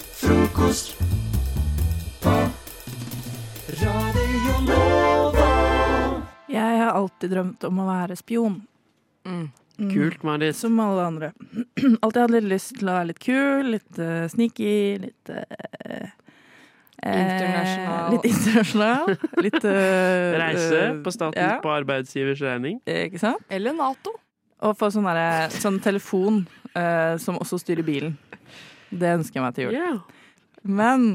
Frokost på Radio Nova. Jeg har alltid drømt om å være spion, Mm. Kult, Marit. som alle andre. Alltid hatt litt lyst til å være litt kul, litt eh, sneaky, litt eh, Internasjonal. litt internasjonal. Litt eh, Reise på statens ja. på arbeidsgivers regning. eh, Ikke sant? Eller Nato. Og få sånn, derre- sånn telefon eh, som også styrer bilen. Det ønsker jeg meg til jul. Ja. Men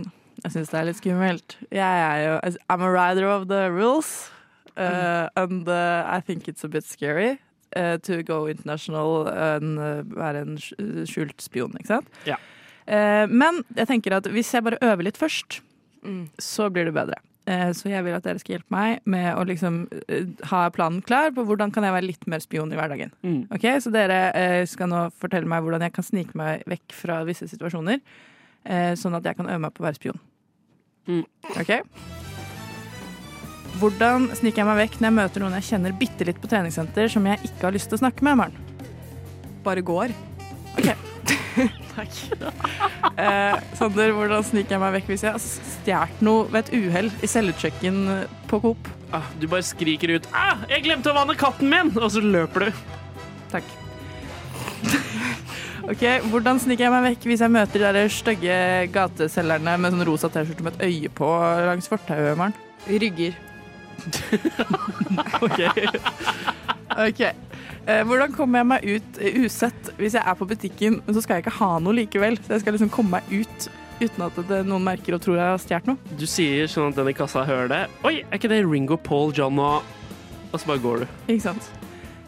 jeg syns det er litt skummelt. Jeg er jo altså, I'm a rider of the rules. Mm. Uh, and uh, I think it's a bit scary uh, to go international and uh, være en skj- skjult spion, ikke sant? Ja. Uh, men jeg tenker at hvis jeg bare øver litt først, Mm. så blir det bedre. Uh, så jeg vil at dere skal hjelpe meg med å liksom uh, ha planen klar på hvordan kan jeg være litt mer spion i hverdagen. Mm. Ok, Så dere eh, skal nå fortelle meg hvordan jeg kan snike meg vekk fra visse situasjoner, eh, sånn at jeg kan øve meg på å være spion. Mm. Ok? Hvordan sniker jeg meg vekk når jeg møter noen jeg kjenner bitte litt på treningssenter, som jeg ikke har lyst til å snakke med? Maren? Bare går. Eh, Sander, hvordan sniker jeg meg vekk hvis jeg har stjålet noe ved et uhell i selvutchecken på Coop? Ah, du bare skriker ut ah, 'Jeg glemte å vanne katten min!' Og så løper du. Takk. Ok, Hvordan sniker jeg meg vekk hvis jeg møter de der stygge gateselgerne med sånn rosa T-skjorte med et øye på langs fortauet? Maren? Rygger. Ok. Ok. Eh, hvordan kommer jeg meg ut eh, usett hvis jeg er på butikken, men så skal jeg ikke ha noe likevel? Så jeg skal liksom komme meg ut uten at det, noen merker og tror jeg har stjålet noe? Du sier sånn at den i kassa hører det. 'Oi, er ikke det Ringo Paul John og Og så bare går du. Ikke sant?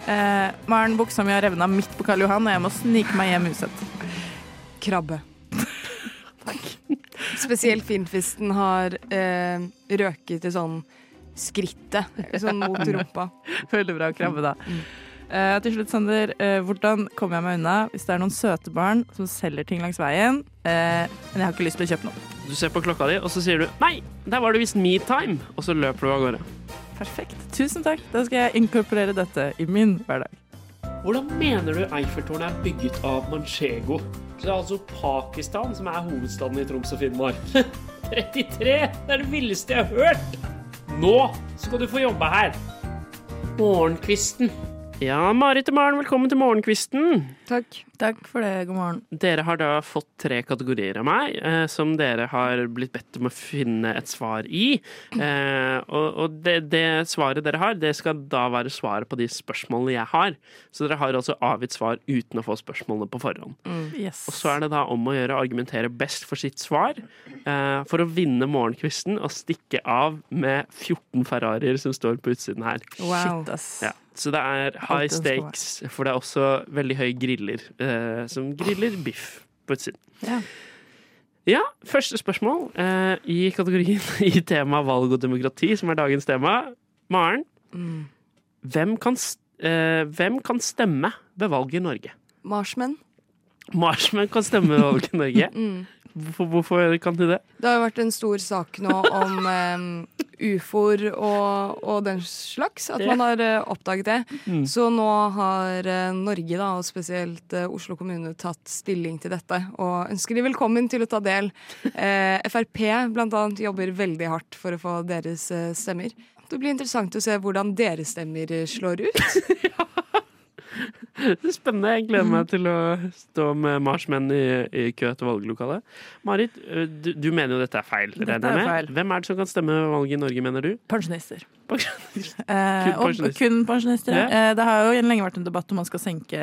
Eh, Maren, buksa mi har revna midt på Karl Johan, og jeg må snike meg hjem usett. Krabbe. Spesielt finfisten har eh, røket i sånn skrittet, sånn mot rumpa. Veldig bra krabbe, da. Eh, til slutt, Sander. eh, hvordan kommer jeg meg unna hvis det er noen søte barn som selger ting langs veien, eh, men jeg har ikke lyst til å kjøpe noe? Du ser på klokka di, og så sier du 'Nei, der var det visst me time!' Og så løper du av gårde. Perfekt. Tusen takk. Da skal jeg inkorporere dette i min hverdag. Hvordan mener du Eiffeltårnet er bygget av manchego? Så det er altså Pakistan som er hovedstaden i Troms og Finnmark. 33! Det er det villeste jeg har hørt! Nå skal du få jobbe her. Morgenkvisten. Ja, Marit og Maren, velkommen til Morgenkvisten. Takk. Takk for det. God morgen. Dere har da fått tre kategorier av meg, eh, som dere har blitt bedt om å finne et svar i. Eh, og og det, det svaret dere har, det skal da være svaret på de spørsmålene jeg har. Så dere har altså avgitt svar uten å få spørsmålene på forhånd. Yes. Og så er det da om å gjøre å argumentere best for sitt svar eh, for å vinne morgenkvisten og stikke av med 14 Ferrarier som står på utsiden her. Wow. Shit, ass. Ja, så det er high Alt ønsker meg. stakes, for det er også veldig høy griller, eh, som griller biff på utsiden. Ja. Ja, første spørsmål eh, i kategorien i temaet valg og demokrati, som er dagens tema. Maren, Mm. hvem, kan, s- eh, hvem kan stemme ved valg i Norge? Marsmenn. Mm. Marsmenn kan stemme ved valg i Norge. Hvorfor, hvorfor kan de det? Det har jo vært en stor sak nå om um, ufoer og, og den slags, at man har eh, oppdaget det. Så nå har eh, Norge, da, og spesielt eh, Oslo kommune, tatt stilling til dette. Og ønsker de velkommen til å ta del. Eh, Frp blant annet jobber veldig hardt for å få deres eh, stemmer. Det blir interessant å se hvordan deres stemmer eh, slår ut. Det er spennende. Jeg gleder meg til å stå med marsmenn i, i kø til valglokalet. Marit, eh, du, du mener jo dette er feil. Dette regner jeg er med. feil. Hvem er det som kan stemme ved valg i Norge, mener du? Pensjonister. Pensjonister. Eh, og pensjonister. kun pensjonister. Ja. Eh, det har jo lenge vært en debatt om man skal senke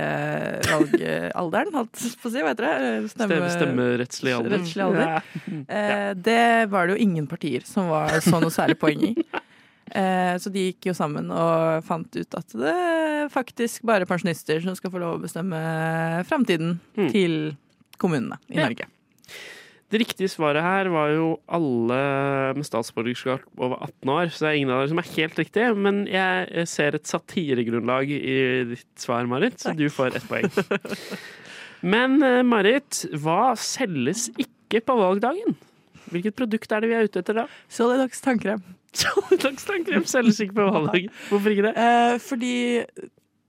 valgalderen, holdt jeg på å si. Vet dere? Stemme, stemmerettslig alder. Eh, Rettslig alder. Ja. Eh, det var det jo ingen partier som var så noe særlig poeng i. Eh, så de gikk jo sammen og fant ut at det er faktisk bare pensjonister som skal få lov å bestemme framtiden Mm. til kommunene i Ja. Norge. Det riktige svaret her var jo alle med statsborgerskap over 18 år, så det er ingen av dere som er helt riktig. Men jeg ser et satiregrunnlag i ditt svar, Marit, så du får ett poeng. Men eh, Marit, hva selges ikke på valgdagen? Hvilket produkt er det vi er ute etter da? Solidox tannkrem. Solidagstannkrem selges ikke på valgdagen. Hvorfor ikke det? Eh, fordi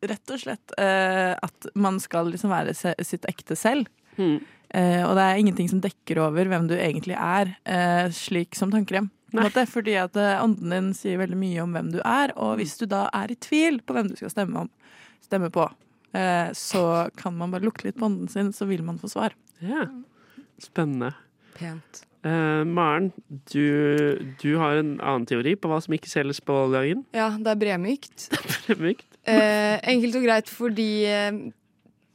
rett og slett eh, at man skal liksom være se sitt ekte selv. Hmm. Eh, og det er ingenting som dekker over hvem du egentlig er, eh, slik som tannkrem. på en Nei. Måte, fordi at eh, ånden din sier veldig mye om hvem du er, og Hmm. hvis du da er i tvil på hvem du skal stemme, om, stemme på, eh, så kan man bare lukte litt på ånden sin, så vil man få svar. Ja. Spennende. Pent. Eh, Maren, du, du har en annen teori på hva som ikke selges på valgdagen. Ja, det er bremykt. Mykt. Eh, enkelt og greit fordi eh,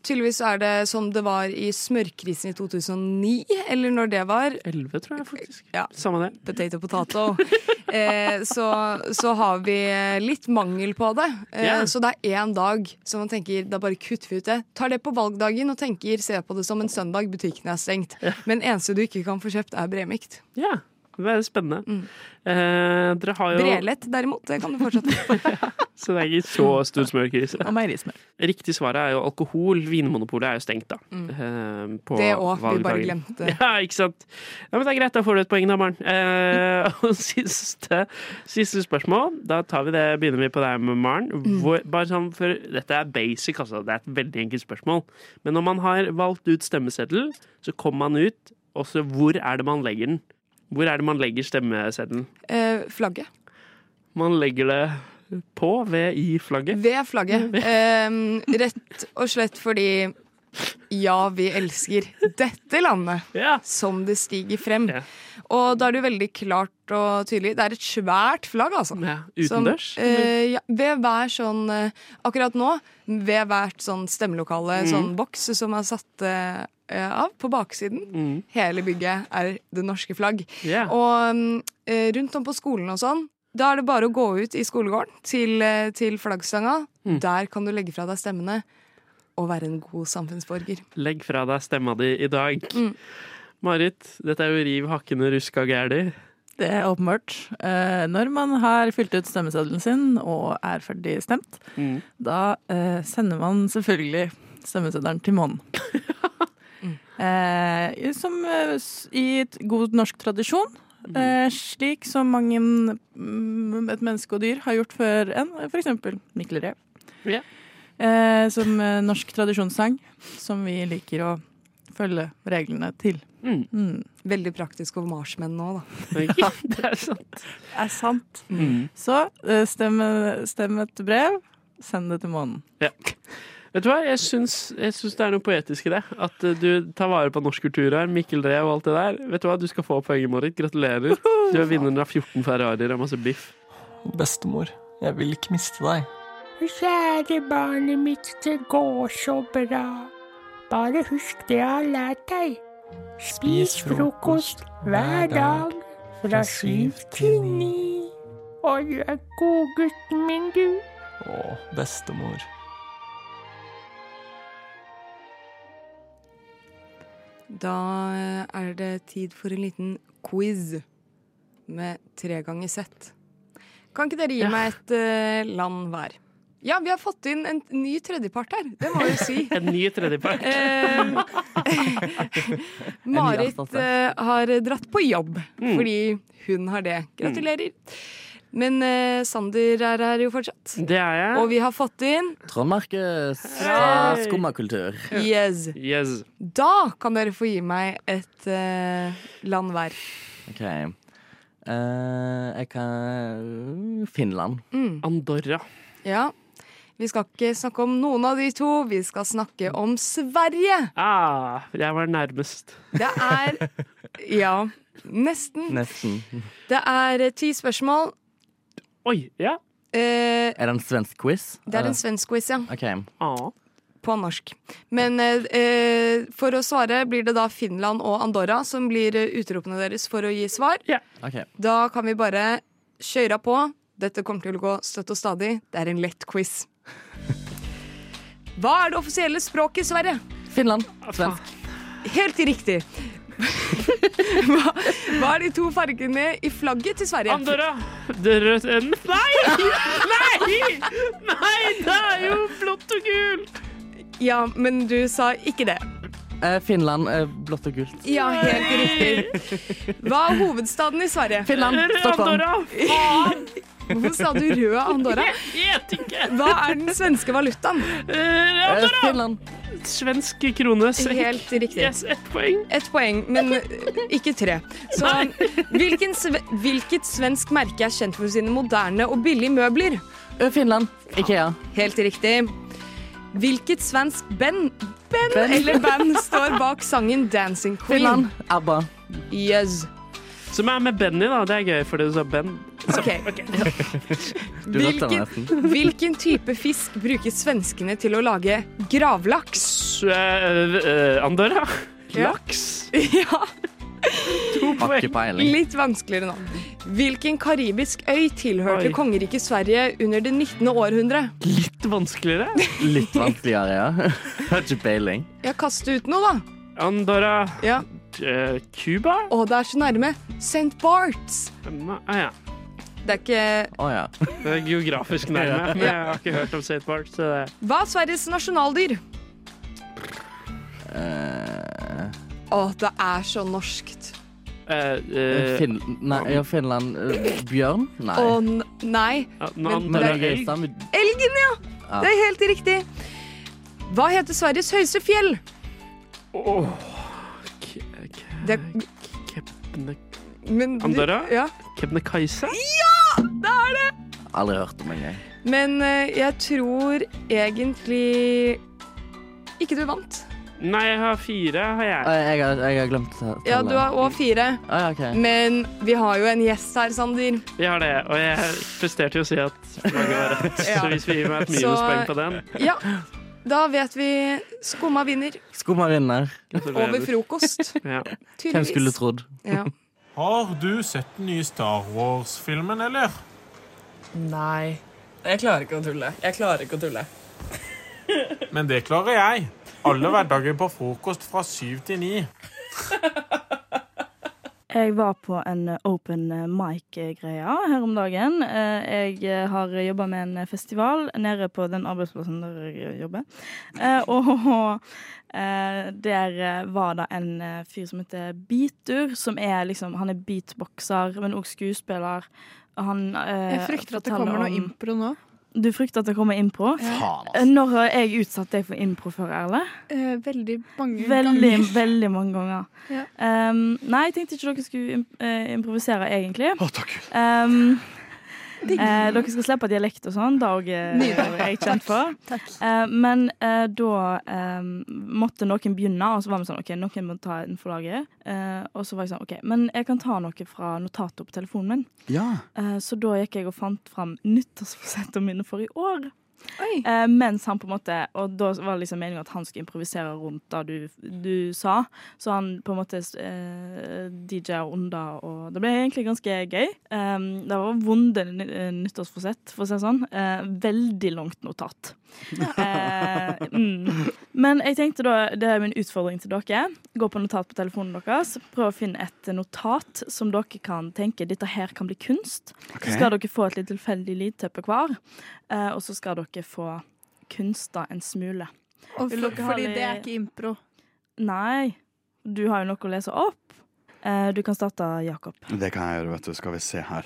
tydeligvis er det som det var i smørkrisen i 2009, eller når det var. 11, tror jeg faktisk. Ja. Samme det. Potato, potato. Eh, så, så har vi litt mangel på det. Eh, Ja. Så det er én dag som man tenker da bare kutter vi ut det. Tar det på valgdagen og tenker ser på det som en søndag butikken er stengt. Men eneste du ikke kan få kjøpt, er bremykt. Ja, det er spennende. Mm. Eh, dere har jo Brelett derimot, det kan du fortsatt få. Så det er ikke så stor smørkrise. Og meierismør. Riktig svaret er jo alkohol. Vinmonopolet er jo stengt, da. eh, på Mm. Det òg. Vi bare valgdagen. glemte det. Ja, ikke sant? Ja, men det er greit, da får du et poeng, da, Maren. Eh, og siste, siste spørsmål. Da tar vi det, begynner vi på det her med Maren. Hvor, bare sånn for, dette er basic, altså. Det er et veldig enkelt spørsmål. Men når man har valgt ut stemmeseddel, så kommer man ut, og så hvor er det man legger den? Hvor er det man legger stemmeseddelen? Eh, flagget. Man legger det på ved i flagget. Ved flagget. Ehm, rett og slett fordi ja, vi elsker dette landet Ja. som det stiger frem. Ja. Og da er det jo veldig klart og tydelig. Det er et svært flagg, altså. ja. Sånn, Utendørs? Som, eh, ja, ved hver sånn eh, Akkurat nå, ved hvert sånn stemmelokale, Mm. sånn boks som er satt eh, av på baksiden. Mm. Hele bygget er det norske flagg. Ja. Og mm, eh, rundt om på skolen og sånn, da er det bare å gå ut i skolegården til, eh, til flaggstanga. Mm. Der kan du legge fra deg stemmene og være en god samfunnsborger. Legg fra deg stemma di i dag. Marit, dette er jo riv hakkende ruska gæli. Det er åpenbart. Eh, når man har fylt ut stemmeseddelen sin og er ferdig stemt, Mm. da eh, sender man selvfølgelig stemmeseddelen til månen. Mm. eh, som eh, s- i et god norsk tradisjon, Mm. eh, slik som mange mm, et menneske og dyr har gjort før en, f.eks. Mikkel Rev. Ja. Eh, som eh, norsk tradisjonssang, som vi liker å følge reglene til. Mm. Mm. Veldig praktisk over marsmenn nå, da. Ja, det er sant. er sant. Mm. Så eh, stem, stem et brev, send det til månen. Vet du hva, jeg syns, jeg syns det er noe poetisk i det. At eh, du tar vare på norsk kulturarv, Mikkel Rev og alt det der. Vet Du hva, du skal få poenget, Marit. Gratulerer. Du er vinneren av 14 Ferrarier og masse biff. Bestemor, jeg vil ikke miste deg. Kjære barnet mitt, det går så bra. Bare husk det jeg har lært deg. Spis frokost hver dag fra syv til ni. Å, du er godgutten min, du. Å, bestemor. Da eh, er det tid for en liten quiz med tre ganger sett. Kan ikke dere gi Ja. meg et eh, land hver? Ja, vi har fått inn en ny tredjepart her. Det må vi si. En ny tredjepart. Eh, Marit eh, har dratt på jobb fordi hun har det. Gratulerer. Men eh, Sander er her jo fortsatt. Det er Og jeg. vi har fått inn Trond Markus fra Hei! Skummakultur. Yes. Yes. Da kan dere få gi meg et eh, land hver. Ok. Eh, jeg kan Finland. Andorra. Ja. Vi skal ikke snakke om noen av de to, vi skal snakke om Sverige. Ah, jeg var nærmest. Det er Ja, nesten. Nesten. Det er eh, ti spørsmål. Oi, ja. Eh, Er det en svensk quiz? det er en svensk quiz, ja. Ok. Ah. på norsk. Men eh, eh, for å svare blir det da Finland og Andorra som blir eh, utropene deres for å gi svar. ok. Da kan vi bare kjøre på. Dette kommer til å gå støtt og stadig. Det er en lett quiz. Hva er det offisielle språket i Sverige? Finland. Svensk. Helt riktig. hva, hva er de to fargene i flagget til Sverige? Andorra! Det rød... eh, Nei! Nei! Nei, det er jo blått og gult! Ja, men du sa ikke det. Eh, Finland, eh, blått og gult. Ja, helt riktig. Hva er hovedstaden i Sverige? Finland. Eller Stockholm. Andorra! Hvorfor sa du rød Andorra? Vet ikke! Hva er den svenske valutaen? Eh, ja, Eh, Finland. svensk krone, sekk. Helt riktig. Yes, ett poeng. Ett poeng, men ikke tre. Så Nei. hvilken, sve- hvilket svensk merke er kjent for sine moderne og billige møbler? Eh, Finland. Ikea. Helt riktig. Hvilket svensk band, band eller band står bak sangen 'Dancing Queen'? Finland. ABBA. Yes. Som er med Benny, da. Det er gøy, fordi du sa Ben. Ok. Du vet det, Hvilken, nesten. hvilken type fisk bruker svenskene til å lage gravlaks? Så, eh, eh, Andorra. Ja. Laks. Ja, To Har poeng. ikke peiling. litt vanskeligere nå. Hvilken karibisk øy tilhørte Oi. kongeriket Sverige under det 19. århundre? Litt vanskeligere. Litt vanskeligere, ja. Har ikke peiling. Ja, kast ut noe, da. Andorra. Ja. eh, Cuba? Å, det er så nærme. St. Barts. Nei, ah, ja. Det er ikke Å ja. Det er geografisk nærme. Men jeg har ikke hørt om St. Bart. Så det Hva er Sveriges nasjonaldyr? Eh, Å, det er så norskt. eh, eh, Fin nei, ja, Finland. eh, Bjørn? Nei. Å, n- nei. ja, men Andorra Norge, elg. Øystein, Elgen, ja! Ja. Det er helt riktig. Hva heter Sveriges høyeste fjell? Åh, Ke- Ke- Det, Kebne- men, du- Andorra? Ja, Kebnekaise? det er det! Aldri hørt om engang. Men eh, jeg tror egentlig ikke du vant. Nei, jeg har fire, har Uh, jeg. jeg, har- jeg har glemt tallet. Ja, du har òg fire. Å, ja, ok. Men vi har jo en gjest her, Sander. Vi har det, og jeg presterte jo å si at mange var rett. Ja. Så hvis vi gir meg et Så- minuspoeng på den Ja, da vet vi Skumma vinner Skumma vinner. over frokost. Ja. Hvem skulle Tydeligvis. trodd? Ja. Har du sett den nye Star Wars-filmen, eller? Nei. Jeg klarer ikke å tulle. Jeg klarer ikke å tulle. Men det klarer jeg. Alle hverdager på frokost fra syv til ni. Jeg var på en eh, open mic-greia her om dagen. Eh, Jeg eh, har jobba med en festival nede på den arbeidsplassen der jeg jobber. Eh, Og eh, der eh, var det en eh, fyr som heter Beatur, som er liksom Han er beatboxer, men òg skuespiller. Og Han eh, Jeg frykter at det forteller kommer noe om- impro nå. Du frykter at det kommer impro? Faen, Eh, altså. Når har jeg utsatt deg for impro før, Erle? Eh, veldig mange Veldig, ganger. veldig mange ganger. Ja. Um, nei, jeg tenkte ikke dere skulle im- eh, improvisere, egentlig. Um, eh, dere skal slippe dialekt og sånn, det òg er jeg kjent for. Eh, men eh, da eh, måtte noen begynne, og så var vi sånn OK, noen må ta en for laget. Eh, og så var jeg sånn OK, men jeg kan ta noe fra notatet på telefonen min. Ja. Eh, så da gikk jeg og fant fram nyttårsforsettene mine for i år. Oi. Eh, mens han på en måte Og da var det liksom meningen at han skulle improvisere rundt det du, du sa. Så han på en måte eh, DJ-a under, og det ble egentlig ganske gøy. Um, det var vonde ny- eh, nyttårsforsett, for å si det sånn. Eh, veldig langt notat. Eh, mm. Men jeg tenkte da, det er min utfordring til dere. Gå på notat på telefonen deres. Prøv å finne et notat som dere kan tenke dette her kan bli kunst. Så skal dere få et litt tilfeldig lydteppe hver. Eh, og så skal dere få kunsta en smule. Og Vil for, dere ha fordi litt- det er ikke impro. Nei, du har jo noe å lese opp. Eh, du kan starte, Jakob. Det kan jeg gjøre, vet du. Skal vi se her.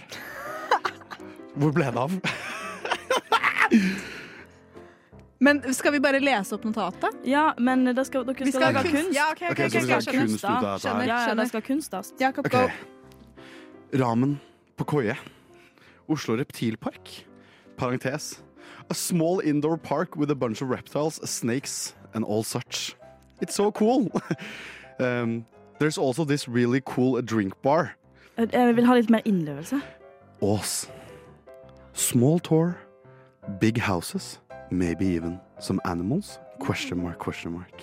Hvor ble det av? Men skal vi bare lese opp notatet? Ja, men det skal, dere skal, Vi skal ha lage kunst. kunst. Ja, ok, Ok, ok, ok, så ok, vi skal ha skjønner. kunst ut av dette Skjønner, her. Ja, ja, det skjønner. skal kunstes. Jakob, OK. go. Ramen på koie. Oslo Reptilpark. Parentes. A small indoor park with a bunch of reptiles, snakes and all such. It's so cool. um, there's also this really cool drink bar. Eh, Jeg vil ha litt mer innlevelse. Ås. Small tour. Big houses. Maybe even some animals? Question mark, question mark.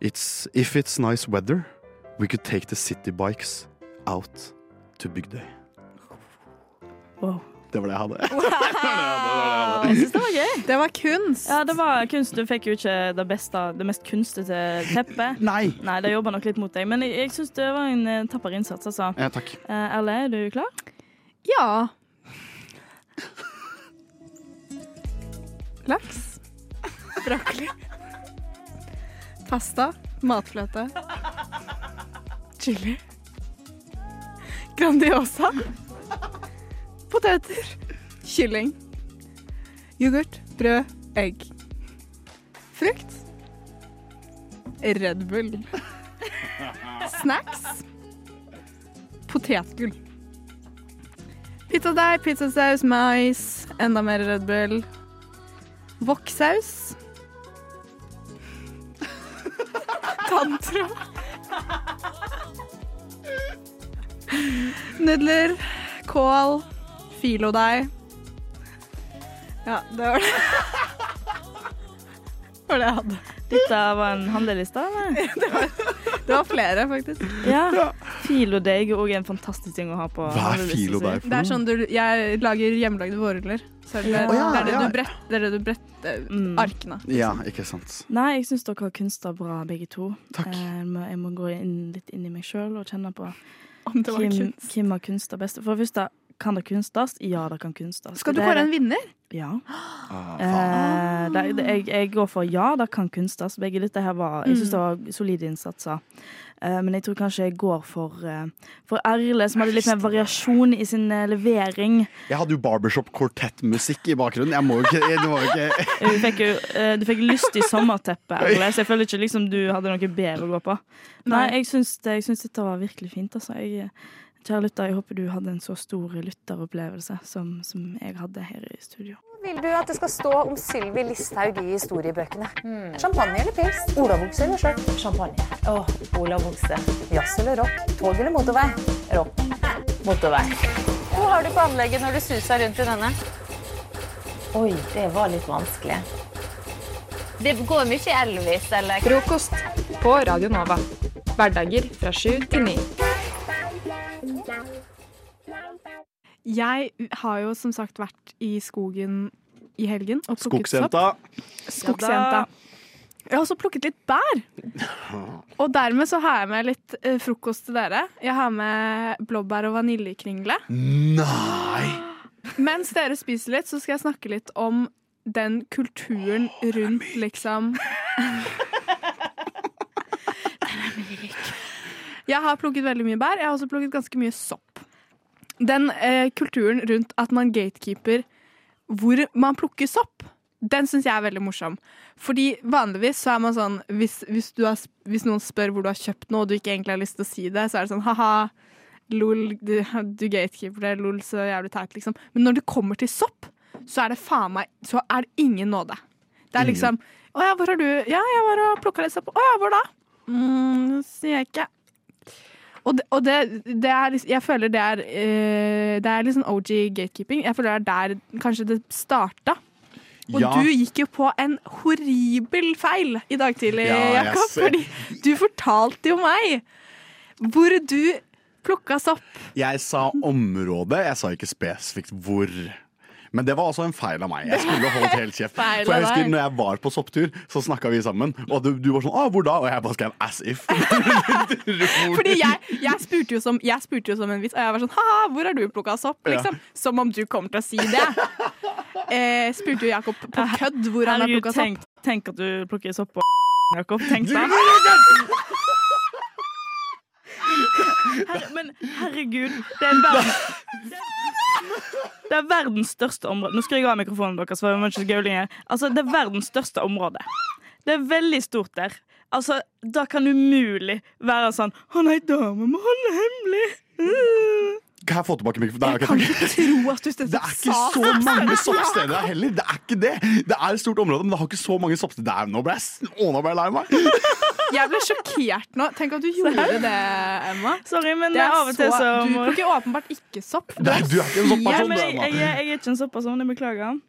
It's, if it's nice weather, we could take the city bikes out to Bygdøy. Wow. Det var det jeg hadde. Jeg synes det var gøy. Det var kunst. Ja, det var kunst. Du fikk jo ikke det beste, det mest kunstete teppet. Nei! Nei, det jobber nok litt mot deg, men jeg, jeg syns det var en eh, tapper innsats, altså. Ja, takk. Eh, Erle, er du klar? Ja. Laks. Brokkoli. Pasta. Matfløte. Chili. Grandiosa. Poteter. Kylling. Yoghurt. Brød. Egg. Frukt. Red Bull. Snacks. Potetgull. Pizzadeig, pizzasaus, mais, enda mer Red Bull. Vokksaus. Tantra. Nudler, kål, filodeig. Ja, det var det. Det var det jeg hadde. Dette var en handleliste, eller? Det var, det var flere, faktisk. Ja. Filodeig er òg en fantastisk ting å ha på Hva er filodeig for Det er sånn du, jeg lager hjemmelagde vårruller. Så er det, Å, ja, det er det ja. du brett, det er det du brett eh, Mm. arkene. Ja, ikke sant. Nei, jeg syns dere har kunster bra, begge to. Takk. Jeg må, jeg må gå inn, litt inn i meg sjøl og kjenne på det var kunst. hvem har kunster best. For det første, kan det kunstast? Ja, det kan kunstast. Skal du Det er kåre det- en vinner? Ja. Eh, det, det, jeg, jeg går for ja, det kan kunstes. Begge dette her var Jeg syns det Mm. var solide innsatser. Eh, men jeg tror kanskje jeg går for, eh, for Erle, som hadde litt mer variasjon i sin eh, levering. Jeg hadde jo barbershop-kortettmusikk i bakgrunnen. Jeg må jo ikke, det var jo ikke Du fikk, jo, eh, du fikk lyst i sommerteppet, Erle, så jeg føler ikke liksom du hadde noe bedre å gå på. Nei, jeg syns, det, jeg syns dette var virkelig fint. Altså. Jeg, kjære lytter, jeg håper du hadde en så stor lytteropplevelse som, som jeg hadde her i studio. Vil du at det skal stå om Sylvi Listhaug i historiebøkene? Champagne eller pils? Olavokse eller skjørt? Hmm. Champagne. Åh, Olavokse. Jazz eller rock? Tog eller motorvei? Rock. Motorvei. Hvor har du på anlegget når du suser rundt i denne? Oi, det var litt vanskelig. Det går mye Elvis eller Frokost på Radio Nova. Hverdager fra sju til ni. Jeg har jo som sagt vært i skogen i helgen og plukket Skogsjenta. sopp. Skogsjenta. Jeg har også plukket litt bær. Og dermed så har jeg med litt eh, frokost til dere. Jeg har med blåbær og vaniljekringle. Nei! Mens dere spiser litt, så skal jeg snakke litt om den kulturen rundt liksom Jeg har plukket veldig mye bær. Jeg har også plukket ganske mye sopp. Den eh, kulturen rundt at man gatekeeper hvor man plukker sopp, den syns jeg er veldig morsom. Fordi vanligvis så er man sånn hvis, hvis, du har, hvis noen spør hvor du har kjøpt noe, og du ikke egentlig har lyst til å si det, så er det sånn ha-ha, lol, du, du gatekeeper det, lol, så jævlig teit, liksom. Men når det kommer til sopp, så er det faen meg Så er det ingen nåde. Det er liksom Å ja, hvor har du Ja, jeg var og plukka litt sopp. Å ja, hvor da? Mm, sier jeg ikke. Og, det, og det, det er liksom, jeg føler det er eh, Det er litt sånn OG gatekeeping. Jeg føler det er der kanskje det starta. Og Ja. du gikk jo på en horribel feil i dag tidlig, Ja, jeg Jakob. ser. Fordi du fortalte jo meg hvor du plukka sopp. Jeg sa område, jeg sa ikke spesifikt hvor. Men det var også en feil av meg. Jeg skulle holdt helt kjeft. Feil av For jeg husker deg. når jeg var på sopptur, så snakka vi sammen. Og du, du var sånn 'Å, hvor da?' Og jeg bare skrev 'as if'. Fordi jeg, jeg, spurte jo som, jeg spurte jo som en vits, og jeg var sånn ha hvor har du plukka sopp? Ja. Liksom. Som om du kommer til å si det. Eh, spurte jo Jakob på kødd hvor han har Herregud, plukka tenk, sopp. tenk at du plukker sopp på Jakob. Tenk deg. Her, men herregud, det er en verden... Det er verdens største område Nå skrur jeg av mikrofonen deres. For jeg må ikke så gauling her. altså, det er verdens største område. Det er veldig stort der. Altså, Da kan det umulig være sånn 'Å nei, da må vi holde hemmelig'. Uh, Kan jeg få tilbake mikrofonen? Nei, ok, takk. Tro at du Det er ikke så mange soppsteder der heller. Det er ikke det. Det er et stort område, men det har ikke så mange soppsteder. Der. Nå ble jeg, s- å, nå ble jeg lei meg. Jeg ble sjokkert nå. Tenk at du gjorde det, Emma. Sorry, men Det er av og til så Du må- plukker åpenbart ikke sopp. Nei, du er ikke Ja, en soppperson, men du, jeg, jeg, Emma. jeg er ikke en såpass, jeg beklager.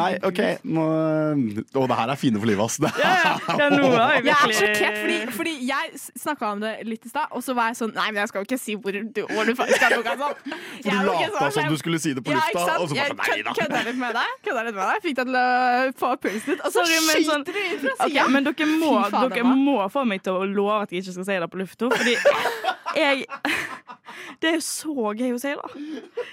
Nei, OK. Nå, å, det her er fine for livet, ass. Det- ja, nå har Jeg er jeg virkelig- sjokkert, fordi, fordi jeg snakka om det litt i stad, og så var jeg sånn Nei, men jeg skal jo ikke si hvor du, hvor du faktisk har plukka sopp. For du lata som du skulle si det på sånn, Ja, ikke lufta, sant? og så Jeg bare kød- sånn, nei da. kødda litt med deg. Kødda litt med deg. Fikk deg til å få pulsen litt. Og så Sorry, men skyter sånn- du ut fra Ok, sida. men dere må, Fy fader, dere hva? må få meg til å love at jeg ikke skal si det på lufta, fordi jeg Det er jo så gøy å si, da.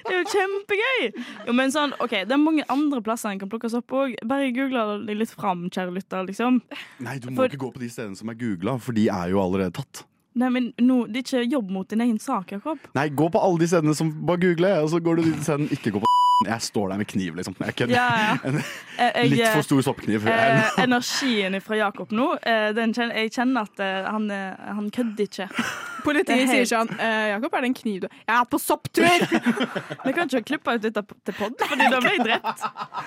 Det er jo kjempegøy! Jo, men sånn, OK, det er mange andre plasser en kan plukkes opp òg. Bare google det litt fram, kjære lytter, liksom. Nei, du må For- ikke gå på de stedene som er googla, for de er jo allerede tatt. Nei, men nå, Det er ikke jobb mot din egen sak, Jakob. Nei, gå på alle de stedene som Bare google, og så går du dit til Ikke gå på Jeg står der med kniv, liksom. Jeg kødder. Ja, En- Jeg- jeg- Litt for stor soppkniv. Eh, energien fra Jakob nå, eh, den kjen- jeg kjenner at eh, han, eh, han kødder ikke. Politiet sier sånn eh, 'Jakob, er det en kniv du Jeg er på sopptur!' Vi kan ikke klippe ut dette til pod, fordi da blir jeg drept.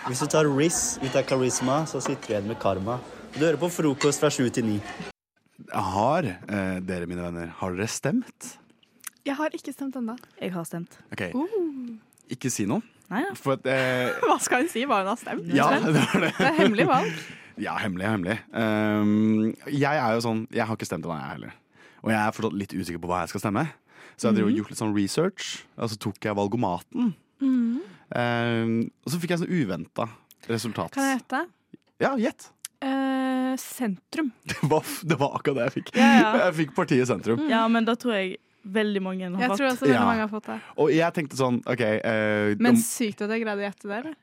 Hvis du tar Riz ut av karisma, så sitter du igjen med karma. Du hører på frokost fra sju til ni. Har eh, dere, mine venner, har dere stemt? Jeg har ikke stemt ennå. Jeg har stemt. Ok, Uh, Ikke si noe. Nei, For at eh, hva skal hun si? Hva hun har stemt? Ja, Sven? det var det. det er hemmelig valg. Ja, hemmelig er hemmelig. Ehm, jeg er jo sånn Jeg har ikke stemt ennå, jeg heller. Og jeg er fortsatt litt usikker på hva jeg skal stemme. Så Mm. jeg drev og Mhm. gjort litt sånn research, og så tok jeg valgomaten. Mm. Ehm, og så fikk jeg sånn uventa resultat. Kan jeg gjette? Ja, gjett! Eh, sentrum. Det var, det var akkurat det jeg fikk. Ja, ja. Mm. Jeg fikk Partiet Sentrum. Ja, men da tror jeg veldig mange har Jeg fått. tror også veldig Ja. mange har fått det. Og jeg tenkte sånn OK eh, Men om- sykt at jeg greide å gjette det. eller?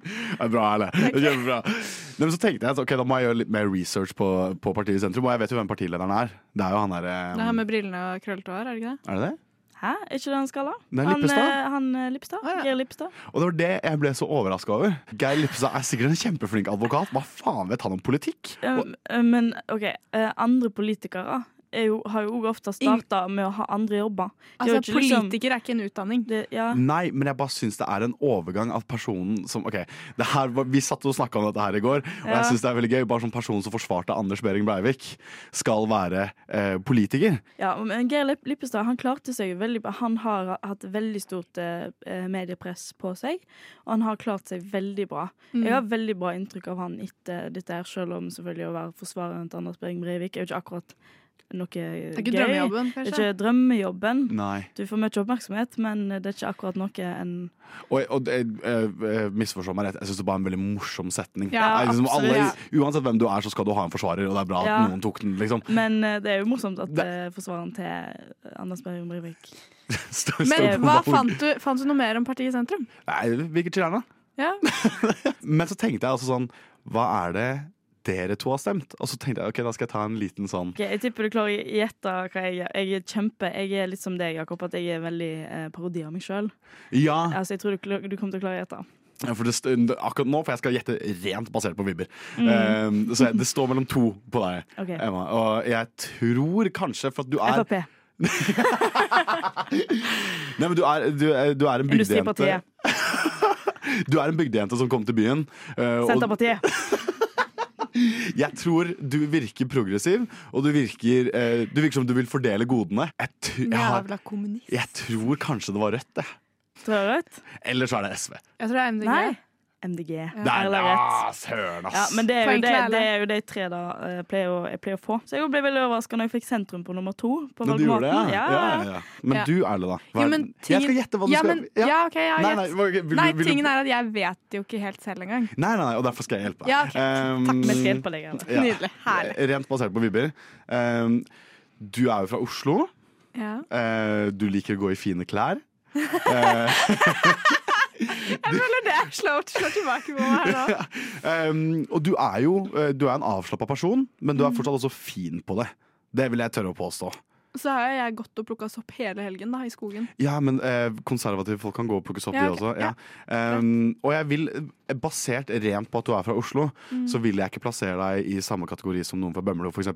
Det er bra, Erle. Det er Kjempebra. Nei, men så tenkte jeg at ok, da må jeg gjøre litt mer research på, på partiet sentrum. Og jeg vet jo hvem partilederen er. Det er jo han derre Det her med brillene og krøllete hår, er det ikke det? Er det det? Hæ, er ikke det han skal ha? Nei, han Lippestad. eh, han eh, Lippestad? Geir Lippestad? Og det var det jeg ble så overraska over. Geir Lippestad er sikkert en kjempeflink advokat. Hva faen vet han om politikk? Og, Um, eh, men OK, eh, andre politikere er jo, har jo også ofte starta med å ha andre jobber. De har Altså, jo ikke liksom- Politiker er ikke en utdanning. Det, ja. nei, men jeg bare syns det er en overgang at personen som OK, det her, var- vi satt og snakka om dette her i går, og Ja. jeg syns det er veldig gøy. Bare som person som forsvarte Anders Behring Breivik, skal være eh, politiker. Ja, men Geir Lipp- Lippestad han klarte seg jo veldig bra. Han har hatt veldig stort eh, mediepress på seg, og han har klart seg veldig bra. Mm. Jeg har veldig bra inntrykk av han etter dette her, selv om selvfølgelig å være forsvareren til Anders Behring Breivik er jo ikke akkurat noe gøy. er ikke drømmejobben, kanskje? Det er ikke drømmejobben. Nei. Du får mye oppmerksomhet, men det er ikke akkurat noe en Og, og eh, eh, misforstå meg rett, jeg syns det var en veldig morsom setning. Ja, Jeg synes absolutt. alle, uansett hvem du er, så skal du ha en forsvarer, og det er bra at Ja. noen tok den, liksom. Men eh, det er jo morsomt at eh, forsvareren til Anders Behring Breivik Står- står Men på hva valg. fant du, fant du noe mer om partiet sentrum? Nei, virker til gjerne. Ja. Men så tenkte jeg altså sånn, hva er det dere to har stemt? Og så tenkte jeg, ok, da skal jeg ta en liten sånn Ok, jeg tipper du klarer å gjette hva jeg gjør. Jeg er kjempe, jeg er litt som deg, Jakob, at jeg er veldig eh, parodi av meg sjøl. Ja, Altså, jeg tror du, kl- du kommer til å klare å gjette. for det stø- akkurat nå, for jeg skal gjette rent basert på vibber. Mm. Eh, så jeg, det står mellom to på deg, Ok. Emma. Og jeg tror kanskje for at du Eh, er Frp. Nei, men du er, du, er- du er en bygdejente. Industripartiet. Du er en bygdejente som kom til byen. eh, og Senterpartiet. jeg tror du virker progressiv, og du virker, eh, du virker som du vil fordele godene. Jeg, tr- jeg, har, Jævla kommunist. jeg tror kanskje det var Rødt, det. Tror jeg rett? Eller så er det SV. Jeg tror det er MDG. Nei. MDG. Der, Erle ja, rett. ah, søren, Ja, ass! men det er, jo Poeng til det, Erle. det er jo de tre da eh, pleier å, jeg pleier å få. Så jeg ble veldig overraska når jeg fikk sentrum på nummer to. På Men du gjorde det, valgomaten. ja. Ja, ja, ja. Men Ja. du, Erle, da. Hva Jo, er- men Jeg skal tingen- gjette hva du ja, skal men, ja. OK, jeg har Nei, nei, gjett. hva- vil du- Nei, vil du- tingen er at jeg vet det jo ikke helt selv engang. Nei, nei, nei, og derfor skal jeg hjelpe deg. Ja, ok. Um, Takk, vi skal hjelpe deg, Erle. Nydelig. Herlig. Rent basert på vibber. Um, du er jo fra Oslo. Ja. Eh, du liker å gå i fine klær. Eh, Jeg føler det slår, slår tilbake på meg her nå. um, og du er jo eh, Du er en avslappa person, men du er fortsatt også fin på det. Det vil jeg tørre å påstå. Så har jo jeg gått og plukka sopp hele helgen da, i skogen. Ja, men eh, konservative folk kan gå og plukkes opp, Ja, de ok, også. Ja. Um, og jeg vil, eh, basert rent på at du er fra Oslo, Mm. så vil jeg ikke plassere deg i samme kategori som noen fra Bømlo, f.eks.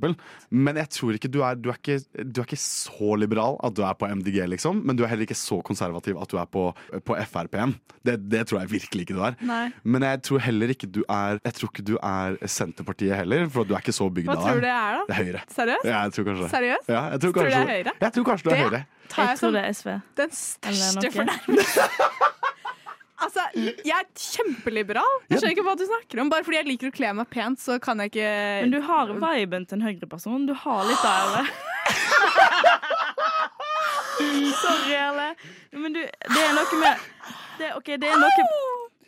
Men jeg tror ikke du, er, du er ikke Du er ikke så liberal at du er på MDG, liksom. Men du er heller ikke så konservativ at du er på, på Frp-en. Det, det tror jeg virkelig ikke du er. Nei. Men jeg tror heller ikke du er Jeg tror ikke du er Senterpartiet heller, for du er ikke så bygd Hva av tror du deg. jeg er, da? Det er Høyre. Seriøst? Ja, jeg tror kanskje det. Seriøst? Ja, jeg tror Tror du kanskje, det er Høyre? Jeg tror kanskje du er Det- Høyre. Tar Jeg jeg som tror det er SV. den største fornærmelsen. Altså, jeg er kjempeliberal. Jeg skjønner ikke hva du snakker om. Bare fordi jeg liker å kle meg pent, så kan jeg ikke Men du har viben til en høyreperson. Du har litt av det. Sorry, Erle. Men du, det er noe med det, ok, det, er noe,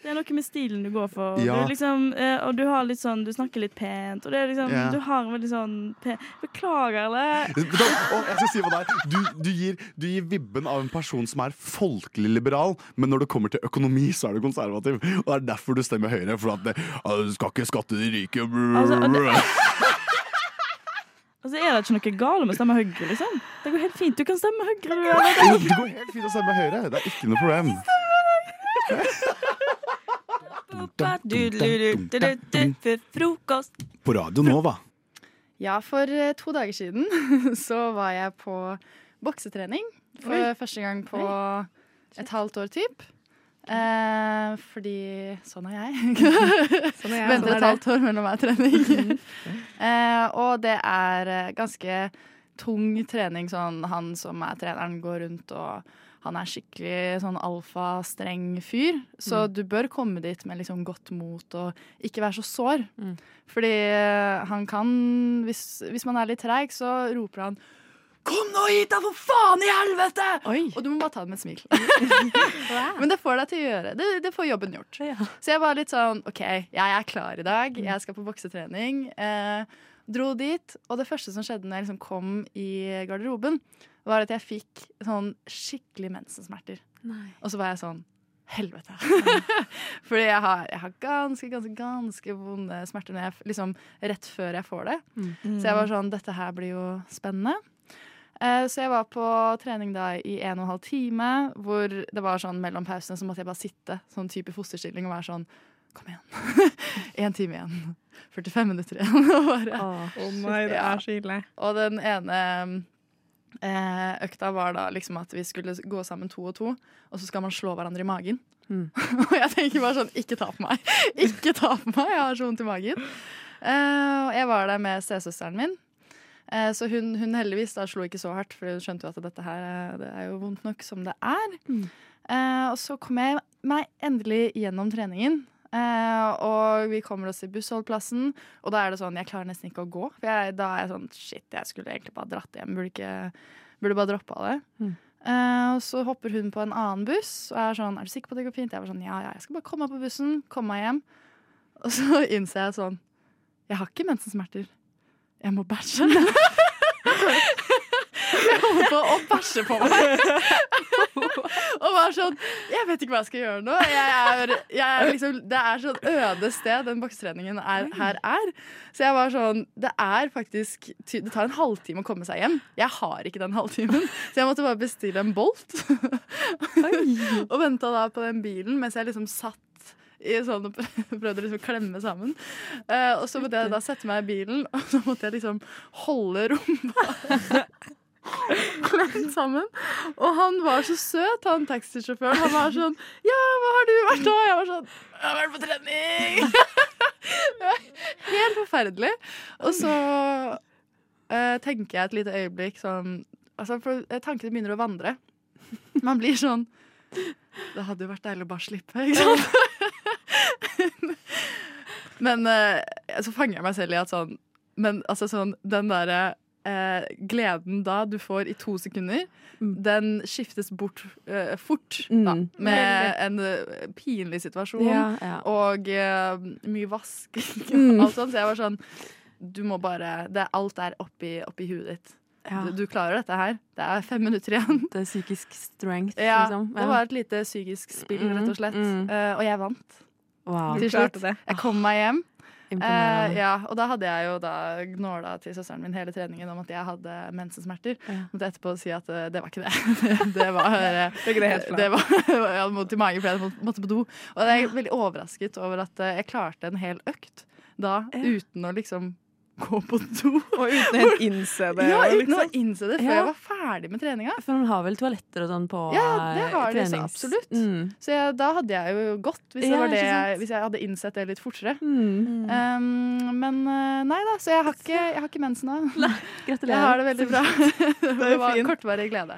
det er noe med stilen du går for. Ja. Du liksom, eh, og du har litt sånn Du snakker litt pent, og det er liksom Ja. Du har en veldig sånn pe Beklager, Erle. Vet du hva? Å, jeg skal si hva det er. Du, du, gir, du gir vibben av en person som er folkelig liberal, men når det kommer til økonomi, så er du konservativ. Og det er derfor du stemmer Høyre. For at det, «Å, du skal ikke skatte de rike. Altså, og det- Altså, er det ikke noe galt med å stemme Høyre, liksom? Det går helt fint. Du kan stemme Høyre. Du, Jo, Det går helt fint å stemme Høyre. Det er ikke noe problem. Frokost. På Radio Nova. Ja, for eh, to dager siden så var jeg på boksetrening. For Oi. første gang på et halvt år, typ. Eh, fordi sånn er jeg. Sånn er jeg, Venter altså- sånn er et halvt det. Mhm. år mellom hver trening. eh, og det er eh, ganske tung trening. Sånn, han som er treneren, går rundt og han er skikkelig sånn alfastreng fyr, så Mm. du bør komme dit med liksom godt mot og ikke være så sår. Mm. Fordi eh, han kan, hvis, hvis man er litt treig, så roper han 'Kom nå hit, da, for faen i helvete!' Og du må bare ta det med et smil. Men det får deg til å gjøre Det, det får jobben gjort. Så jeg var litt sånn OK, jeg er klar i dag. Jeg skal på boksetrening. Eh, dro dit, og det første som skjedde når jeg liksom kom i garderoben, var at jeg fikk sånn skikkelig mensensmerter. Nei. Og så var jeg sånn Helvete. Fordi jeg har, jeg har ganske, ganske, ganske vonde smerter når jeg, f- liksom, rett før jeg får det. Mm. Så jeg var sånn Dette her blir jo spennende. Eh, Så jeg var på trening da i en og en halv time, hvor det var sånn mellom pausene så måtte jeg bare sitte sånn type fosterstilling og være sånn Kom igjen. Én time igjen. 45 minutter igjen. Og bare, nei, Oh det Ja. er så ille. Og den ene eh, økta var da liksom at vi skulle gå sammen to og to, og så skal man slå hverandre i magen. og jeg tenker bare sånn Ikke ta på meg! Ikke ta på meg! Jeg har så vondt i magen. Eh, og jeg var der med stesøsteren min. Eh, Så hun, hun heldigvis da slo ikke så hardt, for hun skjønte jo at dette her eh, det er jo vondt nok som det er. Eh, og så kom jeg meg endelig gjennom treningen. Eh, og vi kommer oss til bussholdplassen, og da er det sånn jeg klarer nesten ikke å gå. For jeg, da er jeg sånn shit, jeg skulle egentlig bare dratt hjem. Burde, ikke, burde bare droppa det. Eh, og så hopper hun på en annen buss og er sånn Er du sikker på at det går fint? Jeg var sånn ja, ja, jeg skal bare komme meg på bussen, komme meg hjem. Og så innser jeg sånn Jeg har ikke mensensmerter. Jeg må bæsje. jeg holdt på å bæsje på meg. og var sånn Jeg vet ikke hva jeg skal gjøre nå. Jeg er, jeg er liksom, det er sånn øde sted den boksetreningen er, her er. Så jeg var sånn Det er faktisk ty- Det tar en halvtime å komme seg hjem. Jeg har ikke den halvtimen, så jeg måtte bare bestille en Bolt. og venta da på den bilen mens jeg liksom satt i sånn og prøvde å liksom klemme sammen. Eh, og så måtte jeg da sette meg i bilen, og så måtte jeg liksom holde rumpa klemt sammen. Og han var så søt, han taxisjåføren. Han var sånn Ja, hva har du vært da? Jeg var sånn Jeg har vært på trening! Det var Helt forferdelig. Og så eh, tenker jeg et lite øyeblikk sånn Altså, for tankene begynner å vandre. Man blir sånn Det hadde jo vært deilig å bare slippe, ikke sant? Men eh, så fanger jeg meg selv i at sånn Men altså sånn, den derre eh, gleden da du får i to sekunder, den skiftes bort eh, fort. Da, med en eh, pinlig situasjon Ja, ja. og eh, mye vasking og Mm. alt sånt. Så jeg var sånn Du må bare det, Alt er oppi, oppi huet ditt. Ja. Du, du klarer dette her. Det er fem minutter igjen. Det er psykisk strength, Ja, liksom. Det var et lite psykisk spill, Mm, rett og slett. mm. Eh, og jeg vant. Wow. Til Du slutt. klarte det. Jeg kom meg hjem. Imponerende. Eh, ja, og da hadde jeg jo da gnåla til søsteren min hele treningen om at jeg hadde mensensmerter. Måtte etterpå si at eh, det var ikke det. det var eh, Det er ikke det helt flaut. det var, Jeg hadde vondt i magen fordi jeg hadde må- måtte på do. Og jeg er veldig overrasket over at eh, jeg klarte en hel økt da uten å liksom gå på do. Og uten helt innse det. Ja, uten å liksom. innse det før Ja. jeg var ferdig med treninga. For man har vel toaletter og sånn på Ja, det eh, har de så trenings- absolutt. Mm. Så jeg, da hadde jeg jo gått, hvis, det Ja, var det ikke sant? Mm. jeg, hvis jeg hadde innsett det litt fortere. Um, men eh, nei da, så jeg har ikke, jeg har ikke mensen nå. gratulerer. Jeg har det veldig bra. Det, er jo var fint. kortvarig glede.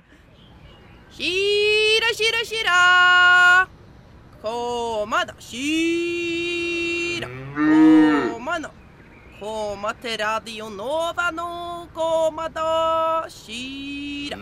Shira, shira, shira. Koma da, shira. Koma nå. Koma til Radio Nova nå. Koma da, shira.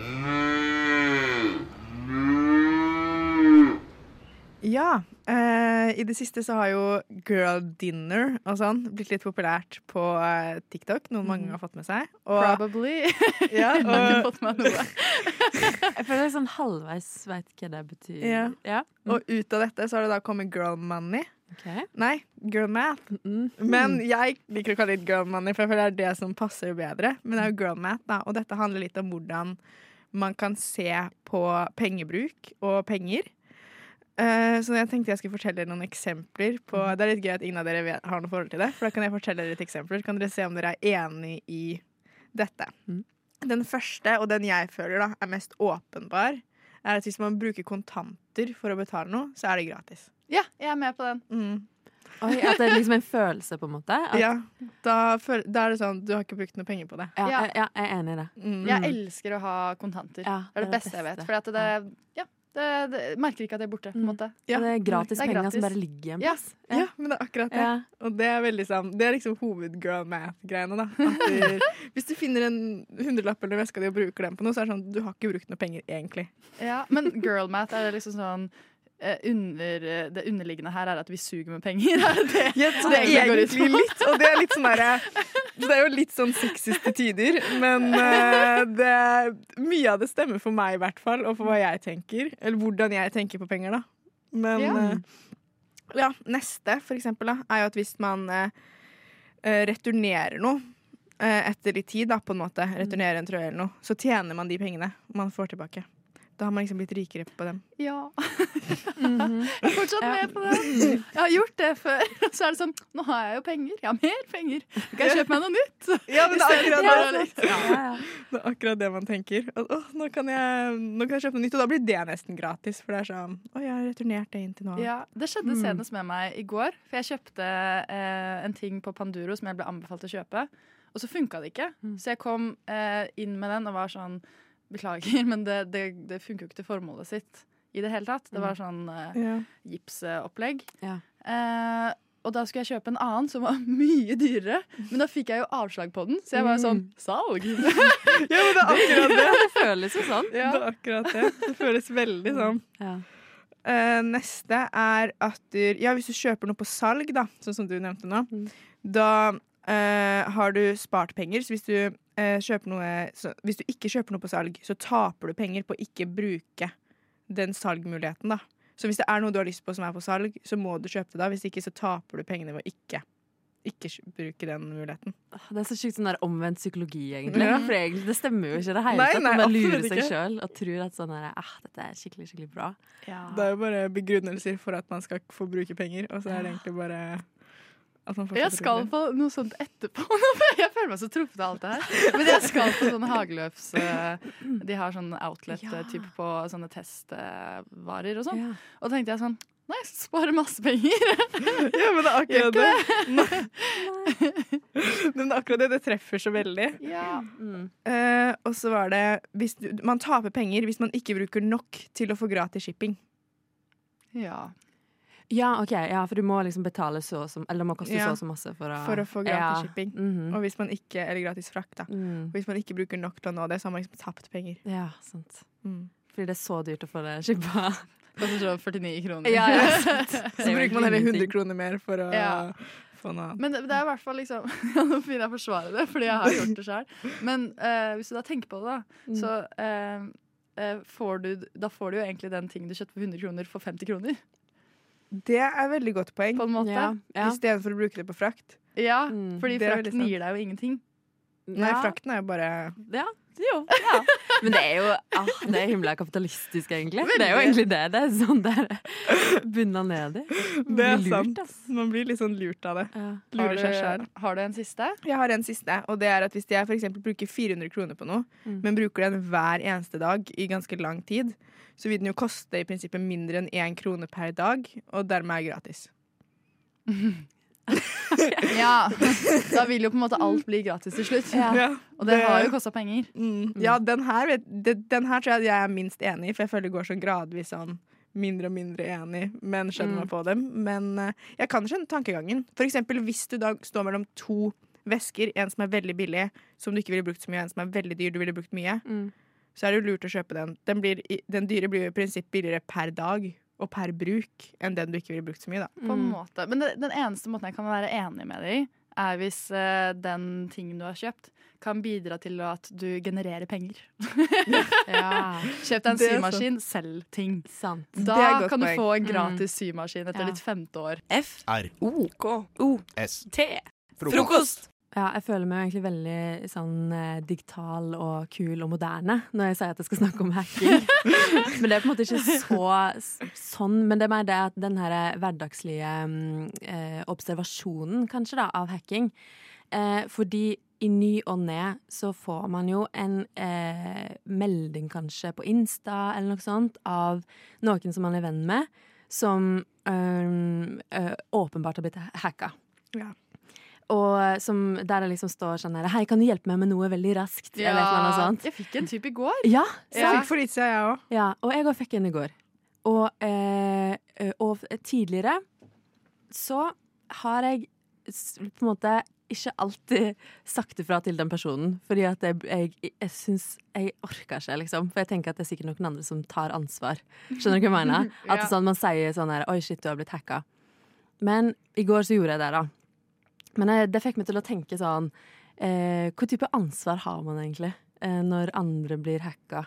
Ja. eh, I det siste så har jo girl dinner og sånn blitt litt populært på eh, TikTok. Noen mange har fått med seg. Og, Probably. Ja, Jeg har ikke og, fått med meg noe. Jeg føler det er sånn halvveis veit hva det betyr. Ja. Ja. Og ut av dette så har det da kommet girl money. Ok. Nei, girl math. Men jeg liker å kalle det girl money, for jeg føler det er det som passer bedre. Men det er jo girl math, da. Og dette handler litt om hvordan man kan se på pengebruk og penger. Eh, Så jeg tenkte jeg skulle fortelle dere noen eksempler på Det er litt gøy at ingen av dere vet, har noe forhold til det, for da kan jeg fortelle dere et eksempel. Så kan dere se om dere er enig i dette. Den første, og den jeg føler da, er mest åpenbar, er at hvis man bruker kontanter for å betale noe, så er det gratis. Mm. Ja, jeg er med på den. Oi, at det er liksom en følelse, på en måte? At, Ja, da, føl- da er det sånn du har ikke brukt noe penger på det. Mm. Ja, eh, mm. jeg- ja, jeg er enig i det. Jeg elsker å ha kontanter. det er det beste jeg vet. For at det, ja, det, det merker ikke at det er borte. På en Mm. måte. Og det er gratis Det er penger som gratis. bare ligger igjen. Ja. Ja. men det er akkurat det. Ja. Og det er veldig sånn Det er liksom hovedgirl math-greiene, da. At du, hvis du finner en hundrelapp eller veska di og bruker den på noe, så er det sånn du har ikke brukt noe penger, egentlig. Ja, men girl math er det liksom sånn eh, under, eh, Det underliggende her er at vi suger med penger. Er det det? Ja, så det er egentlig går ut egentlig på? litt Og det er litt sånn derre Det er jo litt sånn sexy til tider, men eh, det, mye av det stemmer for meg, i hvert fall, og for hva jeg tenker. Eller hvordan jeg tenker på penger, da. Men Ja. eh, ja, neste, for eksempel, da, er jo at hvis man eh, eh, returnerer noe eh, etter litt tid, da, på en måte, returnerer en trøye eller noe, så tjener man de pengene man får tilbake. Da har man liksom blitt rikere på dem. Ja. Jeg er fortsatt med på det. Jeg har gjort det før. Og så er det sånn Nå har jeg jo penger. Jeg har mer penger. Nå kan jeg kjøpe meg noe nytt. Ja, men det er Istedenfor akkurat å det. liksom- Det er akkurat det man tenker. At, åh, nå, kan jeg, nå kan jeg kjøpe noe nytt, og da blir det nesten gratis. For det er sånn Å, jeg har returnert det inn til nå. Ja, Det skjedde Mm. senest med meg i går. For jeg kjøpte eh, en ting på Panduro som jeg ble anbefalt å kjøpe. Og så funka det ikke. Så jeg kom eh, inn med den og var sånn Beklager, men det, det, det funker jo ikke til formålet sitt i det hele tatt. Det var sånn eh, Ja. gipsopplegg. Eh, og da skulle jeg kjøpe en annen som var mye dyrere, men da fikk jeg jo avslag på den, så jeg var jo sånn Salg! Ja, men det er akkurat det. Det føles jo sånn. Ja. Det er akkurat det. Det føles veldig sånn. Eh, neste er at du Ja, hvis du kjøper noe på salg, da, sånn som du nevnte nå, da eh, har du spart penger. Så hvis du eh, kjøper noe så, Hvis du ikke kjøper noe på salg, så taper du penger på å ikke bruke den salgmuligheten, da. Så hvis det er noe du har lyst på som er på salg, så må du kjøpe det da. Hvis ikke så taper du pengene ved å ikke, ikke kj- bruke den muligheten. Det er så sjukt sånn der omvendt psykologi, egentlig. Ja. For egentlig, det stemmer jo ikke i det hele Nei, tatt. nei, Man lurer absolutt seg ikke. sjøl og tror at sånn her, ah, dette er skikkelig, skikkelig bra. Det er jo bare begrunnelser for at man skal få bruke penger, og så er det egentlig bare at man fortsatt Jeg skal bruker på noe sånt etterpå. Nå føler- Jeg føler meg så truffet av alt det her. Men jeg skal på sånne hageløps eh, De har sånn outlet-type på sånne testvarer og sånn. Og da tenkte jeg sånn Nei, jeg skal spare masse penger. Ja, men det er Gjør akkurat det. Men det er akkurat det. Det treffer så veldig. Ja. Eh, og så var det hvis du, Man taper penger hvis man ikke bruker nok til å få gratis shipping. Ja. Ja, ok, ja, for du må liksom betale så som Eller det må koste Ja. så og så masse for å For å få gratis ja. Mhm. shipping. Og hvis man ikke, Eller gratis frakt, da. Og hvis man ikke bruker nok til å nå det, så har man liksom tapt penger. Ja, sant. Mm. Fordi det er så dyrt å få det skippa. Koster sånn 49 kroner. Ja, ja, sant. Det så er jo bruker man heller ingenting. 100 kroner mer for å Ja. få noe annet. Men det, det er i hvert fall liksom ja, Nå begynner jeg å forsvare det, fordi jeg har gjort det sjøl. Men eh, hvis du da tenker på det, da, Mm. så eh, eh, får du Da får du jo egentlig den tingen du kjøpte for 100 kroner, for 50 kroner. Det er veldig godt poeng. På en måte. Ja, ja. Istedenfor å bruke det på frakt. Ja, fordi Det er veldig frakten sant. gir deg jo ingenting. Nei, Ja. frakten er jo bare Ja. Jo, ja. Men det er jo ah, Det er himla kapitalistisk, egentlig. Det er jo Veldig. egentlig det. Det er sånn det er bunna ned i. Det er Lurt, sant. Man blir litt sånn lurt av det. Har Lurer du- seg sjæl. Har du en siste? Jeg har en siste, og det er at hvis jeg for eksempel bruker 400 kroner på noe, Mm. men bruker den hver eneste dag i ganske lang tid, så vil den jo koste i prinsippet mindre enn én krone per dag, og dermed er gratis. Ja. Da vil jo på en måte alt bli gratis til slutt. Ja. Og det Det- har jo kosta penger. Mm. Ja, den her, vet, den, den her tror jeg jeg er minst enig i, for jeg føler det går sånn gradvis sånn mindre og mindre enig, men skjønner Mm. meg på dem. Men eh, jeg kan skjønne tankegangen. For eksempel hvis du da står mellom to vesker, en som er veldig billig, som du ikke ville brukt så mye, og en som er veldig dyr, du ville brukt mye, så er det jo lurt å kjøpe den. Den, blir, i- den dyre blir jo i prinsipp billigere per dag og per bruk enn den du ikke ville brukt så mye, da. Mm. På en måte. Men det, den eneste måten jeg kan være enig med deg i, er hvis eh, den tingen du har kjøpt, kan bidra til at du genererer penger. Kjøp deg en Det er symaskin, selg ting. Det er Da godt kan du poeng. få en Mm. gratis symaskin etter Ja. ditt femte år. F. R. O. K. O. S. T. Frokost. Frokost. Ja, jeg føler meg jo egentlig veldig sånn eh, digital og kul og moderne når jeg sier at jeg skal snakke om hacking. men det er på en måte ikke så s- sånn. Men det er mer det at den her hverdagslige mm, eh, observasjonen, kanskje, da, av hacking. Eh, fordi i ny og ne så får man jo en eh, melding, kanskje, på Insta eller noe sånt, av noen som man er venn med, som øhm, øh, åpenbart har blitt ha- hacka. Ja. Og som, der det liksom står sånn her Hei, kan du hjelpe meg med noe veldig raskt? Eller et eller annet sånt. jeg fikk en type i går. Ja, Jeg fikk for litt siden, jeg òg. Ja, og jeg også fikk en i går. Og, eh, eh, og tidligere så har jeg s- på en måte ikke alltid sagt ifra til den personen. Fordi at jeg, jeg, jeg syns Jeg orker ikke, liksom. For jeg tenker at det er sikkert noen andre som tar ansvar. Skjønner du hva jeg mener? At det er Ja. sånn, man sier sånn her Oi, shit, du har blitt hacka. Men i går så gjorde jeg det, da. Men eh, det fikk meg til å tenke sånn eh, Hva type ansvar har man egentlig eh, når andre blir hacka?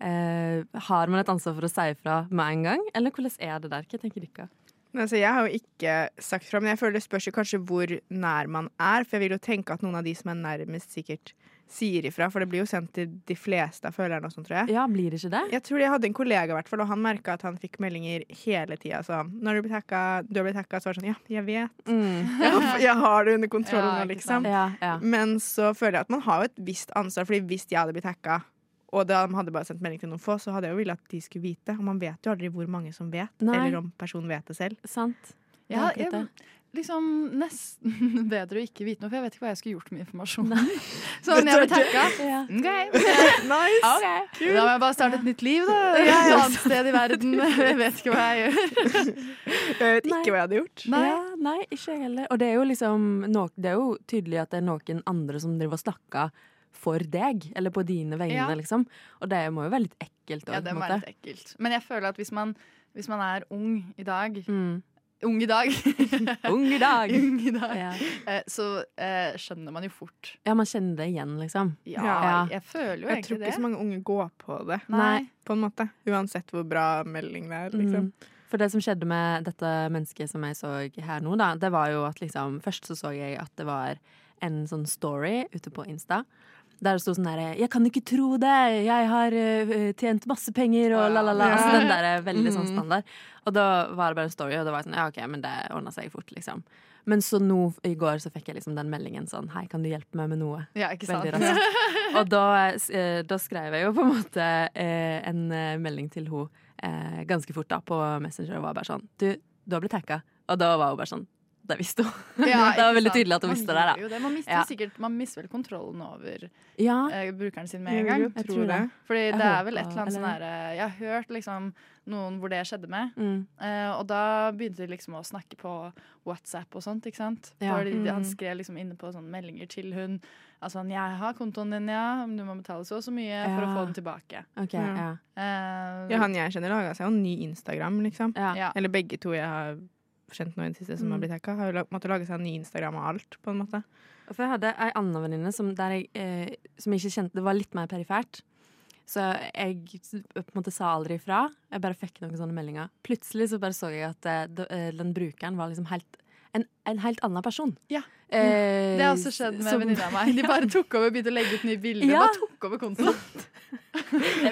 Eh, har man et ansvar for å si ifra med en gang, eller hvordan er det der? Hva tenker dere? Men Altså, jeg har jo ikke sagt fra, men jeg føler det spørs jo kanskje hvor nær man er. For jeg vil jo tenke at noen av de som er nærmest, sikkert sier ifra. For det blir jo sendt til de fleste av følerne og sånn, tror jeg. Ja, blir det ikke det? Jeg tror jeg hadde en kollega, i hvert fall, og han merka at han fikk meldinger hele tida. Så når du blir hacka, du har blitt hacka, så var det sånn Ja, jeg vet. Mm. Jeg, har- jeg har det under kontroll Ja, nå, ikke sant. liksom. Ja, ja. Men så føler jeg at man har jo et visst ansvar, fordi hvis jeg hadde blitt hacka, og de hadde bare sendt melding til noen få, så hadde jeg jo villet at de skulle vite. Og man vet jo aldri hvor mange som vet, Nei. eller om personen vet det selv. Sant. Det er Ja, akkurat jeg, det. liksom nesten bedre å ikke vite noe, for jeg vet ikke hva jeg skulle gjort med informasjon. Det Sånn, jeg ble er det. tagga. Ja. OK. Nice. Ok. Da må jeg bare starte et nytt liv, da. Et Ja, ja. annet sted i verden. Jeg vet ikke hva jeg gjør. Jeg vet ikke hva jeg hadde gjort. Nei. Ja, nei, ikke jeg heller. Og det er jo liksom no, Det er jo tydelig at det er noen andre som driver og snakker for deg, eller på dine vegne, Ja. liksom. Og det må jo være litt ekkelt også, Ja, det på en må måte. være litt ekkelt. Men jeg føler at hvis man, hvis man er ung i dag Mm. Ung i dag. Ung i dag. Ung i dag. Ja. Eh, Så eh, skjønner man jo fort. Ja, man kjenner det igjen, liksom. Ja, jeg føler jo Jeg egentlig tror ikke det. så mange unge går på det, Nei. på en måte. Uansett hvor bra melding det er, liksom. Mm. For det som skjedde med dette mennesket som jeg så her nå, da, det var jo at liksom Først så så jeg at det var en sånn story ute på Insta. Der det sto sånn herre 'Jeg kan ikke tro det! Jeg har eh, tjent masse penger!' og la, la, la. Ja. Altså den der er veldig sånn Mm. standard. Og da var det bare en story, og det var jeg sånn Ja, OK, men det ordna seg fort, liksom. Men så nå i går så fikk jeg liksom den meldingen sånn 'Hei, kan du hjelpe meg med noe?' Ja, ikke sant? Veldig raskt. Og da, eh, da skrev jeg jo på en måte eh, en eh, melding til henne eh, ganske fort da på Messenger og var bare sånn Du, du har blitt hacka. Og da var hun bare sånn Det visste hun. Ja, det var ikke veldig sant? tydelig at hun Man visste det. gjør da jo det. Man mister ja. jo sikkert Man mister vel kontrollen over Ja. eh, brukeren sin med Jeg en vil gang. jo Jeg tro tror det. det. Fordi Jeg det er vel håper- et eller annet sånn eller- herre Jeg har hørt liksom noen hvor det skjedde med, Mm. eh, og da begynte de liksom å snakke på WhatsApp og sånt, ikke sant. Ja. Fordi de, Mm. han skrev liksom inne på sånne meldinger til hun Altså han 'Jeg har kontoen din, ja. men Du må betale så og så mye for å Ja. få den tilbake'. Ok, Ja. ja. Eh, Ja, han jeg kjenner laga seg jo en ny Instagram, liksom. Ja. Eller begge to jeg har kjent nå i det siste som Mm. har blitt hacka, har jo la- måttet lage seg en ny Instagram av alt, på en måte. For jeg hadde ei anna venninne som, der jeg, eh, som jeg ikke kjente Det var litt mer perifert. Så jeg s- på en måte sa aldri ifra. Jeg bare fikk noen sånne meldinger. Plutselig så bare så jeg at eh, d- eh, den brukeren var liksom helt en, en helt annen person. Ja. Eh, det har også skjedd med som- venninna mi. De bare tok over begynte å legge ut nye bilder. Ja. Bare tok over kontoen.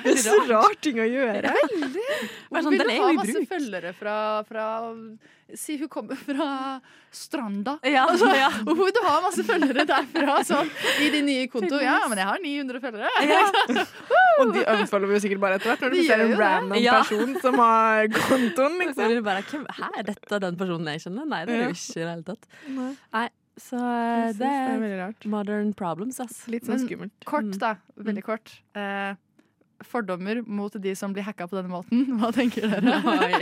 Det er så rar ting å gjøre! Veldig! Bare Hun sånn, den vil er ha jo i masse bruk. følgere fra, fra Si hun kommer fra Stranda. Ja, altså, ja. Hun vil ha masse følgere derfra sånn, i de nye konto. Ja, men jeg har 900 følgere. Ja. Og de unfollower jo sikkert bare etter hvert, når De du ser gjør en jo det. random Ja. person som har kontoen, Så er liksom. det bare, Hvem er dette den personen jeg kjenner? Nei, det er Ja. det jo ikke i det hele tatt. Nei. Nei, så eh, Jeg synes det er det er Mm. veldig rart. modern problems, ass. Litt sånn Men Kort, da. Veldig kort. Eh, fordommer mot de som blir hacka på denne måten. Hva tenker dere?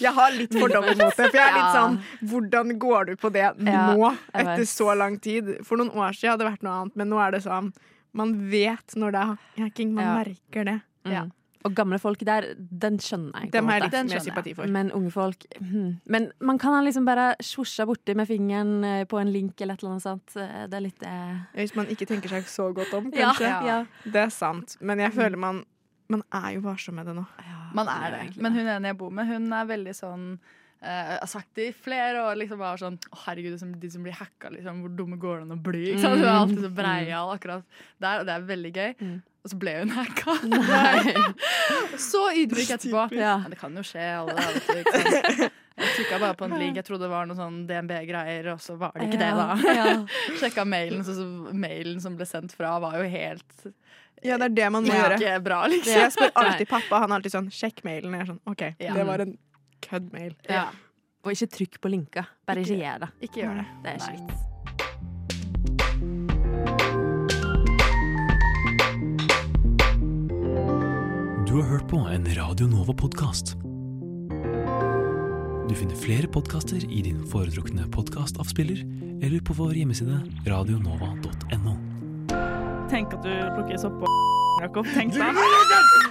Jeg har litt fordommer mot det, for jeg er Ja. litt sånn Hvordan går du på det Ja, nå, jeg etter vet. så lang tid? For noen år siden hadde det vært noe annet, men nå er det sånn Man vet når det er hacking, man Ja. merker det. Ja. Og gamle folk der, den skjønner jeg. på Dem en har måte. jeg litt Den mer skjønner jeg. sympati for. Men unge folk hmm. Men man kan ha liksom bare svosja borti med fingeren eh, på en link eller et eller annet sånt. Eh, Det er litt eh, Hvis man ikke tenker seg så godt om, Ja, kanskje. ja. Det er sant. Men jeg føler man Man er jo varsom med det nå. Man er det. Men hun ene jeg bor med, hun er veldig sånn eh, Jeg har sagt det i flere år. Liksom bare sånn, å herregud, de som, de som blir hacka, liksom, hvor dumme går det an å bli? Ikke sant? Hun er alltid så breial akkurat der, og det er veldig gøy. Og så ble hun hacka. så ydmyk etterpå. Ja. Det kan jo skje, alle der, vet du. Ikke sant? Jeg trykka bare på en link. Jeg trodde det var noe sånn DNB-greier, og så var det ikke Ja, det, da. ja. Sjekka mailen, så, så mailen som ble sendt fra, var jo helt Ja, det er det man må Ja. gjøre. Ikke bra, liksom. Jeg spør alltid pappa, han er alltid sånn 'sjekk mailen'. Jeg er sånn 'OK, Ja. det var en kødd-mail'. Ja. Og ikke trykk på linka. Bare ikke, gjør det. Ikke gjør det. Det er ikke vits. Du har hørt på en Radio Nova-podkast. Du finner flere podkaster i din foretrukne podkastavspiller eller på vår hjemmeside radionova.no. Tenk at du plukker sopp og Jakob. Tenk deg.